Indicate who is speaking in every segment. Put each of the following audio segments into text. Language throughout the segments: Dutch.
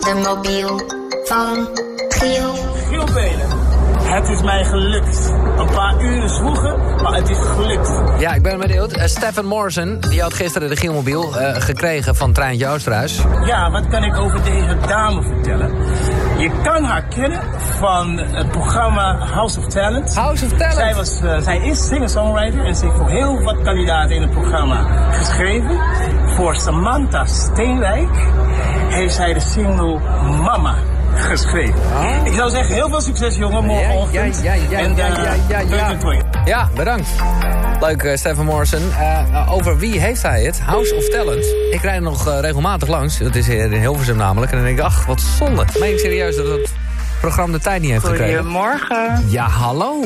Speaker 1: de mobiel van Giel.
Speaker 2: Giel Belen. Het is mij gelukt. Een paar uren zwoegen, maar het is gelukt.
Speaker 3: Ja, ik ben benieuwd. Eh, Stefan Morrison, die had gisteren de Gielmobiel eh, gekregen van Treintje Oosterhuis.
Speaker 2: Ja, wat kan ik over deze dame vertellen? Je kan haar kennen van het programma House of Talent.
Speaker 3: House of Talent.
Speaker 2: Zij, was, eh, zij is singer-songwriter en ze heeft voor heel wat kandidaten in het programma geschreven. Voor Samantha Steenwijk heeft zij de single Mama geschreven.
Speaker 3: Ah.
Speaker 2: Ik zou zeggen, heel veel succes jongen, morgenochtend.
Speaker 3: ja, ja,
Speaker 2: en
Speaker 3: ja,
Speaker 2: eh,
Speaker 3: ja, ja, ja.
Speaker 2: toi, toi, toi.
Speaker 3: Ja, bedankt. Leuk, eh, Stefan Morrison. Eh, over wie heeft hij het? House of Talent. Ik rijd nog eh, regelmatig langs. Dat is hier in Hilversum namelijk. En dan denk ik, ach, wat zonde. Meen ik serieus dat het programma de tijd niet heeft gekregen?
Speaker 4: Goedemorgen.
Speaker 3: Ja, hallo.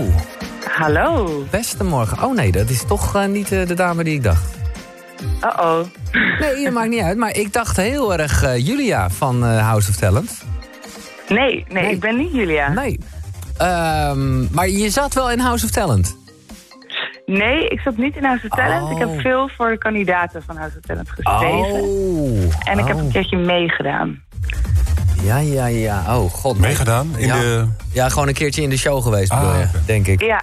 Speaker 4: Hallo.
Speaker 3: Beste morgen. Oh nee, dat is toch eh, niet eh, de dame die ik dacht.
Speaker 4: Uh-oh.
Speaker 3: Nee, dat maakt niet uit. Maar ik dacht heel erg eh, Julia van eh, House of Talent.
Speaker 4: Nee, nee, ik ben niet Julia. Nee.
Speaker 3: Nee. Ehm, maar je zat wel in House of Talent.
Speaker 4: ik zat niet in House of Talent.
Speaker 3: Oh.
Speaker 4: Ik heb veel voor de kandidaten van House of Talent
Speaker 5: Oh.
Speaker 4: geschreven. En ik heb
Speaker 3: Oh.
Speaker 4: een keertje meegedaan.
Speaker 3: Ja, ja, ja. Oh, god.
Speaker 5: Meegedaan in
Speaker 3: ja.
Speaker 5: de...
Speaker 3: Ja, gewoon een keertje in de show geweest,
Speaker 5: Ah,
Speaker 3: bedoel je,
Speaker 5: oké.
Speaker 3: denk ik.
Speaker 4: Ja,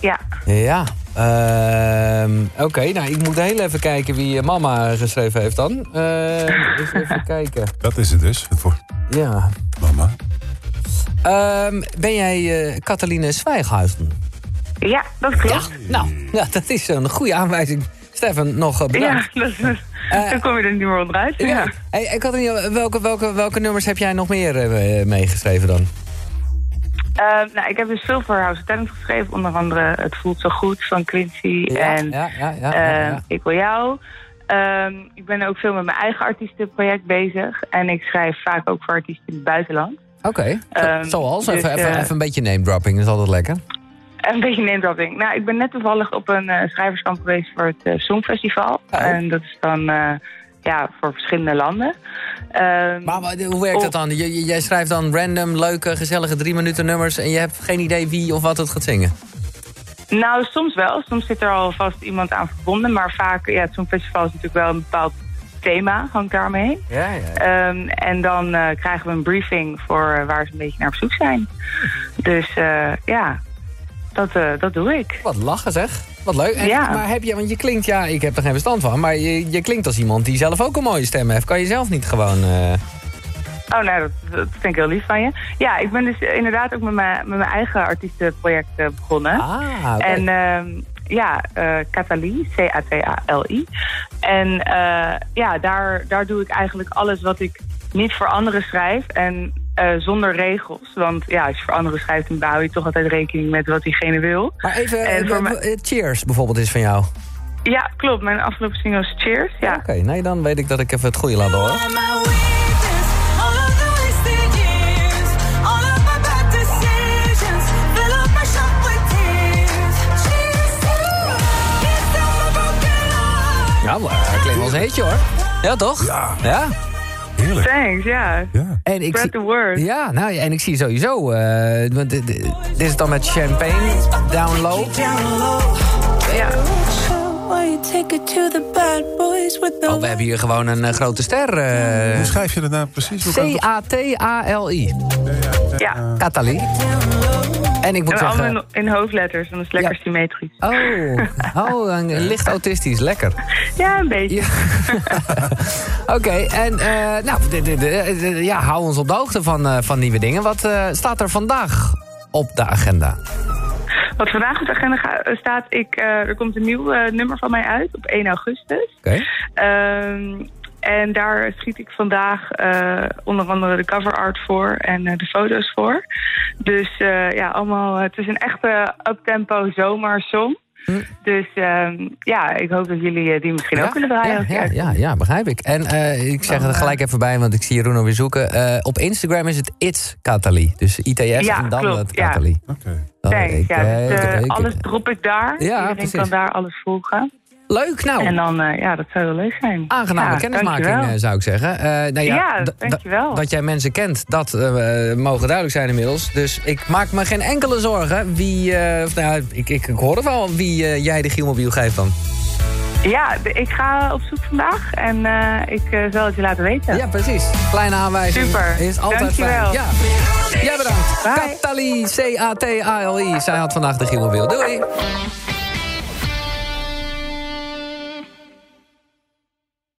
Speaker 4: ja.
Speaker 3: Ja. Ehm, Oké, nou, ik moet heel even kijken wie eh, mama geschreven heeft dan. Eh eens even kijken.
Speaker 5: Dat is het dus, het voor
Speaker 3: Ja.
Speaker 5: mama.
Speaker 3: Ehm, ben jij eh Cataline Zwijghuizen?
Speaker 4: Ja, dat klopt.
Speaker 3: Nou, ja, dat is een goede aanwijzing. Stefan, nog eh,
Speaker 4: Ja,
Speaker 3: bedankt.
Speaker 4: dat is- dan kom je er niet meer onderuit. Ja.
Speaker 3: Hey, eh, Cataline, welke, welke, welke nummers heb jij nog meer eh, meegeschreven dan?
Speaker 4: Eh, nou, ik heb dus veel voor House of Talent geschreven. Onder andere Het voelt zo goed van Quincy.
Speaker 3: Ja,
Speaker 4: en
Speaker 3: ja, ja, ja,
Speaker 4: Eh,
Speaker 3: ja, ja.
Speaker 4: Ik wil jou. Ehm, ik ben ook veel met mijn eigen artiestenproject bezig. En ik schrijf vaak ook voor artiesten in het buitenland.
Speaker 3: Oké, zo-
Speaker 4: ehm,
Speaker 3: zoals?
Speaker 4: dus,
Speaker 3: even, even,
Speaker 4: eh,
Speaker 3: even een beetje name dropping, is altijd lekker.
Speaker 4: Een beetje name-dropping. Nou, ik ben net toevallig op een eh, schrijverskamp geweest voor het eh, Songfestival.
Speaker 3: Oh.
Speaker 4: En dat is dan eh, ja, voor verschillende landen. Ehm,
Speaker 3: Maar, maar hoe werkt
Speaker 4: Oh.
Speaker 3: dat dan? J- j- jij schrijft dan random, leuke, gezellige drie minuten nummers... en je hebt geen idee wie of wat het gaat zingen.
Speaker 4: Nou, soms wel. Soms zit er alvast iemand aan verbonden. Maar vaak, ja, het Songfestival is natuurlijk wel een bepaald thema, hangt daarmee.
Speaker 3: Ja, ja.
Speaker 4: Ehm, en dan eh, krijgen we een briefing voor eh, waar ze een beetje naar op zoek zijn. Dus eh, ja, dat, eh, dat doe ik.
Speaker 3: Wat lachen zeg. Wat leuk. En,
Speaker 4: Ja.
Speaker 3: Maar heb je, want je klinkt, ja, ik heb er geen verstand van... maar je, je klinkt als iemand die zelf ook een mooie stem heeft. Kan je zelf niet gewoon... eh,
Speaker 4: Oh, nou, dat, dat vind ik heel lief van je. Ja, ik ben dus eh, inderdaad ook met mijn, met mijn eigen artiestenproject eh, begonnen.
Speaker 3: Ah, oké.
Speaker 4: En ehm, ja, eh Catali, C-A-T-A-L-I. En eh, ja, daar, daar doe ik eigenlijk alles wat ik niet voor anderen schrijf. En eh, zonder regels. Want ja, als je voor anderen schrijft, dan hou je toch altijd rekening met wat diegene wil.
Speaker 3: Maar even,
Speaker 4: en voor
Speaker 3: eh,
Speaker 4: mij-
Speaker 3: eh, Cheers bijvoorbeeld is van jou.
Speaker 4: Ja, klopt. Mijn afgelopen single is Cheers. Ja.
Speaker 3: Oké, nee, dan weet ik dat ik even het goede laat horen.
Speaker 6: All my wages, all of the wasted years, all of my bad decisions, fill up my shop with tears. Cheers to kiss on my broken heart.
Speaker 3: Ja, maar dat klinkt wel eens heetje hoor. Ja, toch?
Speaker 5: Ja.
Speaker 3: Ja?
Speaker 5: Heerlijk.
Speaker 4: Thanks, ja.
Speaker 5: Ja.
Speaker 3: En ik
Speaker 4: Spread
Speaker 3: zie-
Speaker 4: the word.
Speaker 3: Ja, nou, en ik zie sowieso... eh, want dit- dit dit is dan met champagne, down low.
Speaker 4: Ja.
Speaker 6: Why you take it to the bad boys with the
Speaker 3: Oh, we hebben hier gewoon een eh, grote ster. eh,
Speaker 5: Hoe schrijf je dat nou precies? Hoe kan dat-
Speaker 3: C-A-T-A-L-I.
Speaker 4: ja.
Speaker 3: Catali. En ik moet
Speaker 4: En allemaal in,
Speaker 3: zeggen...
Speaker 4: in hoofdletters, want dat is lekker
Speaker 3: Ja.
Speaker 4: symmetrisch.
Speaker 3: Oh, oh, een licht autistisch, lekker.
Speaker 4: Ja, een beetje.
Speaker 3: Ja. Oké, en eh, nou, de- de- de- de- ja, hou ons op de hoogte van, eh, van nieuwe dingen. Wat eh, staat er vandaag op de agenda?
Speaker 4: Wat vandaag op de agenda ga- staat, ik, eh, er komt een nieuw eh, nummer van mij uit op 1 augustus.
Speaker 3: Oké.
Speaker 4: Ehm, en daar schiet ik vandaag eh, onder andere de cover art voor en eh, de foto's voor. Dus eh, ja, allemaal, het is een echte uptempo zomersong. Dus ehm, ja, ik hoop dat jullie eh, die misschien ook kunnen draaien.
Speaker 3: Hm. ja, ja, ja, ja, begrijp ik. En eh, ik zeg er gelijk even bij, want ik zie Jeroen weer zoeken. Eh, op Instagram is het It's Catali. Dus ITS
Speaker 4: Ja,
Speaker 3: en dan Oh,
Speaker 4: klopt,
Speaker 3: het
Speaker 4: ja.
Speaker 3: Catali.
Speaker 5: Oké.
Speaker 4: Thanks. Ja, dus, eh,
Speaker 3: Oké, oké.
Speaker 4: alles drop ik daar.
Speaker 3: Ja,
Speaker 4: Iedereen
Speaker 3: precies.
Speaker 4: kan daar alles volgen.
Speaker 3: Leuk, nou.
Speaker 4: En dan, eh, ja, dat zou heel leuk zijn.
Speaker 3: Aangename
Speaker 4: Ja,
Speaker 3: kennismaking,
Speaker 4: dankjewel.
Speaker 3: eh, zou ik zeggen. Eh, nou ja,
Speaker 4: Ja,
Speaker 3: d- d-
Speaker 4: dankjewel.
Speaker 3: Dat jij mensen kent, dat eh, eh, mogen duidelijk zijn inmiddels. Dus ik maak me geen enkele zorgen wie... eh, of nou, ja, ik, ik, ik hoor het wel wie eh, jij de Gielmobiel geeft dan.
Speaker 4: Ja, de- ik ga op zoek vandaag en eh, ik eh, zal het je laten weten.
Speaker 3: Ja, precies. Kleine aanwijzing.
Speaker 4: Super.
Speaker 3: Is altijd
Speaker 4: Dankjewel.
Speaker 3: fijn. Ja. Jij bedankt. Katali, C-A-T-A-L-I. Zij had vandaag de Gielmobiel. Doei.